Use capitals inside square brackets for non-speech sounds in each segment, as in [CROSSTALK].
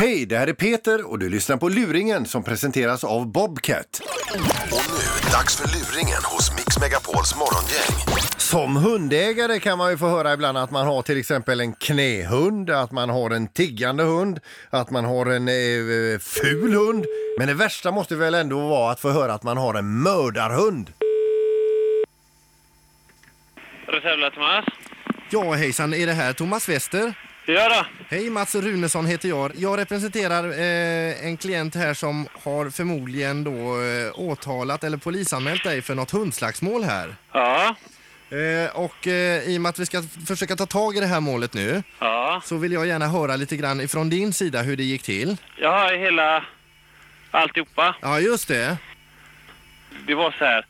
Hej, det här är Peter och du lyssnar på Luringen som presenteras av Bobcat. Och nu, dags för luringen hos Mix Megapols morgongäng. Som hundägare kan man ju få höra ibland att man har till exempel en knähund, att man har en tiggande hund, att man har en eh, ful hund. Men det värsta måste väl ändå vara att få höra att man har en mördarhund. Reservla Thomas. Ja, hejsan. Är det här Thomas Wester? Ja då. Hej, Mats Runesson heter jag. Jag representerar eh, en klient här som har förmodligen då eh, åtalat eller polisanmält dig för något hundslagsmål här. Ja. Eh, och eh, i och med att vi ska f- försöka ta tag i det här målet nu Ja. så vill jag gärna höra lite grann ifrån din sida hur det gick till. Jag har hela alltihopa. Ja, just det. Det var så här.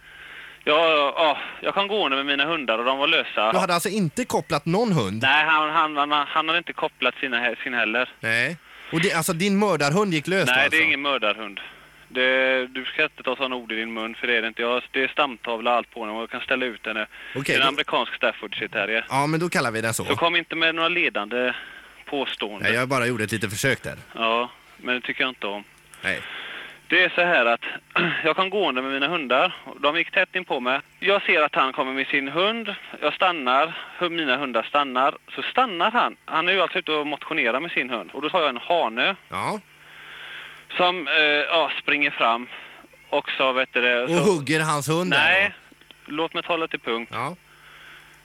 Jag, ja, jag kom gående med mina hundar och de var lösa. Du hade alltså inte kopplat någon hund? Nej, han, han, han, han hade inte kopplat sina, he- sin heller. Nej. Och det, alltså din mördarhund gick lös Nej, alltså? det är ingen mördarhund. Det, du ska inte ta sådana ord i din mun för det är det inte. Jag, har- det är stamtavla allt på honom och jag kan ställa ut henne. Okej, det är en då- amerikansk Staffordshire terrier. Ja, men då kallar vi den så. Så kom inte med några ledande påståenden. Nej, jag bara gjorde ett litet försök där. Ja, men det tycker jag inte om. Nej. Det är så här att [CLEARS THROAT] jag kom gående med mina hundar. De gick tätt in på mig. Jag ser att han kommer med sin hund. Jag stannar. Hu- Mina hundar stannar. Så stannar han. Han är ju alltså ute och motionerar med sin hund. Och då tar jag en hane Ja. som eh, ja, springer fram. Och så vet du det... Och så, hugger hans hund där Nej, då? låt mig tala till punkt. Ja.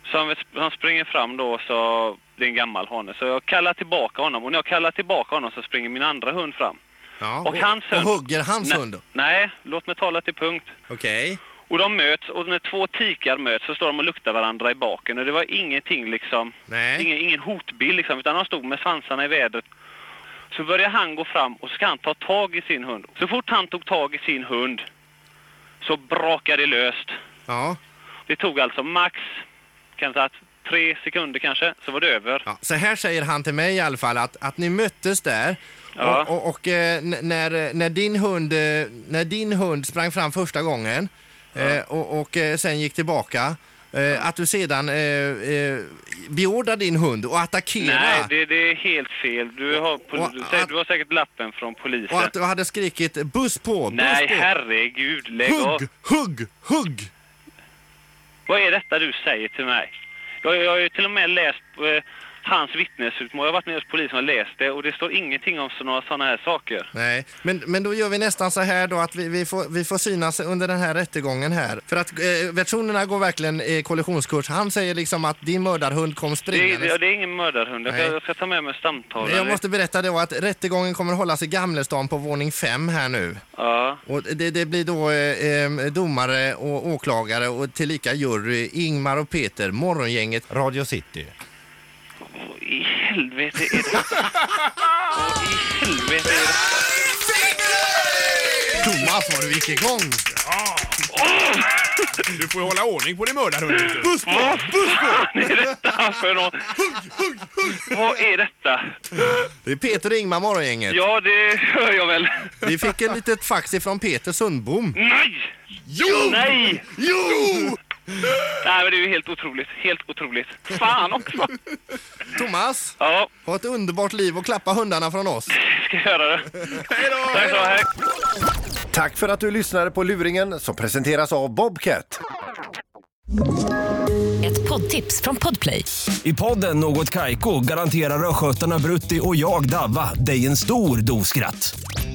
Så han, vet- han springer fram då så... Det är en gammal hane. Så jag kallar tillbaka honom. Och när jag kallar tillbaka honom så springer min andra hund fram. ja. Och hans och hund. hugger hans Nej- hund? Nej, låt mig tala till punkt. Okej. Och de möts och när två tikar möts så står de och luktar varandra i baken och det var ingenting liksom, Nej. ingen, ingen hotbild liksom, utan de stod med svansarna i vädret. Så börjar han gå fram och så ska han ta tag i sin hund. Så fort han tog tag i sin hund så brakade det löst. Ja. Det tog alltså max, kan säga att tre sekunder kanske, så var det över. ja. Så här säger han till mig i alla fall att, att ni möttes där Ja. och, och, och eh, n- när, när, din hund, eh, när din hund sprang fram första gången eh, och, och eh, sen gick tillbaka eh, att du sedan eh, eh, beordrade din hund och attackera Nej, det, det är helt fel. Du har, pol- Och- du säger- du har säkert lappen från polisen. och att du hade skrikit buss på, buss Nej, på, herregud, lägg av. hugg, hugg, hugg. Vad är detta du säger till mig? Jag, jag har ju till och med läst eh, hans vittnesutmål. Jag har varit med hos polisen och läst det och det står ingenting om så- några sådana här saker. Nej, men, men då gör vi nästan så här då att vi, vi, får, vi får synas under den här rättegången här. För att eh, versionerna går verkligen i kollisionskurs. Han säger liksom att din mördarhund kom Det, är- springandes. det, det är ingen mördarhund. Jag, ska- Nej. jag ska ta med mig Men stamtavlan. Jag måste berätta då att rättegången kommer att hållas i Gamlestan på våning 5 här nu. Ja. Och det, det blir då eh, eh, domare och åklagare och tillika jury Ingmar och Peter, Morgongänget, Radio City. Vad i helvete är [LAUGHS] det? Vad i helvete är det? Thomas, vad du gick igång! Ah, Du får ju hålla ordning på din mördarhund. vet du. Vad är detta för något? Vad är detta? Det är Peter och Ingmar, Morgongänget. Ja, det hör jag väl. Vi fick ett litet fax ifrån Peter Sundbom. Nej! Jo! Nej! Jo! Nej, men det är ju helt otroligt. Helt otroligt. Fan också! Thomas! Ja, Ha ett underbart liv och klappa hundarna från oss. ska jag göra det. Hej då! Tack så hej. Tack för att du lyssnade på Luringen som presenteras av Bobcat. Ett poddtips från Podplay. I podden Något Kaiko garanterar östgötarna Brutti och jag, Davva, dig en stor dos skratt.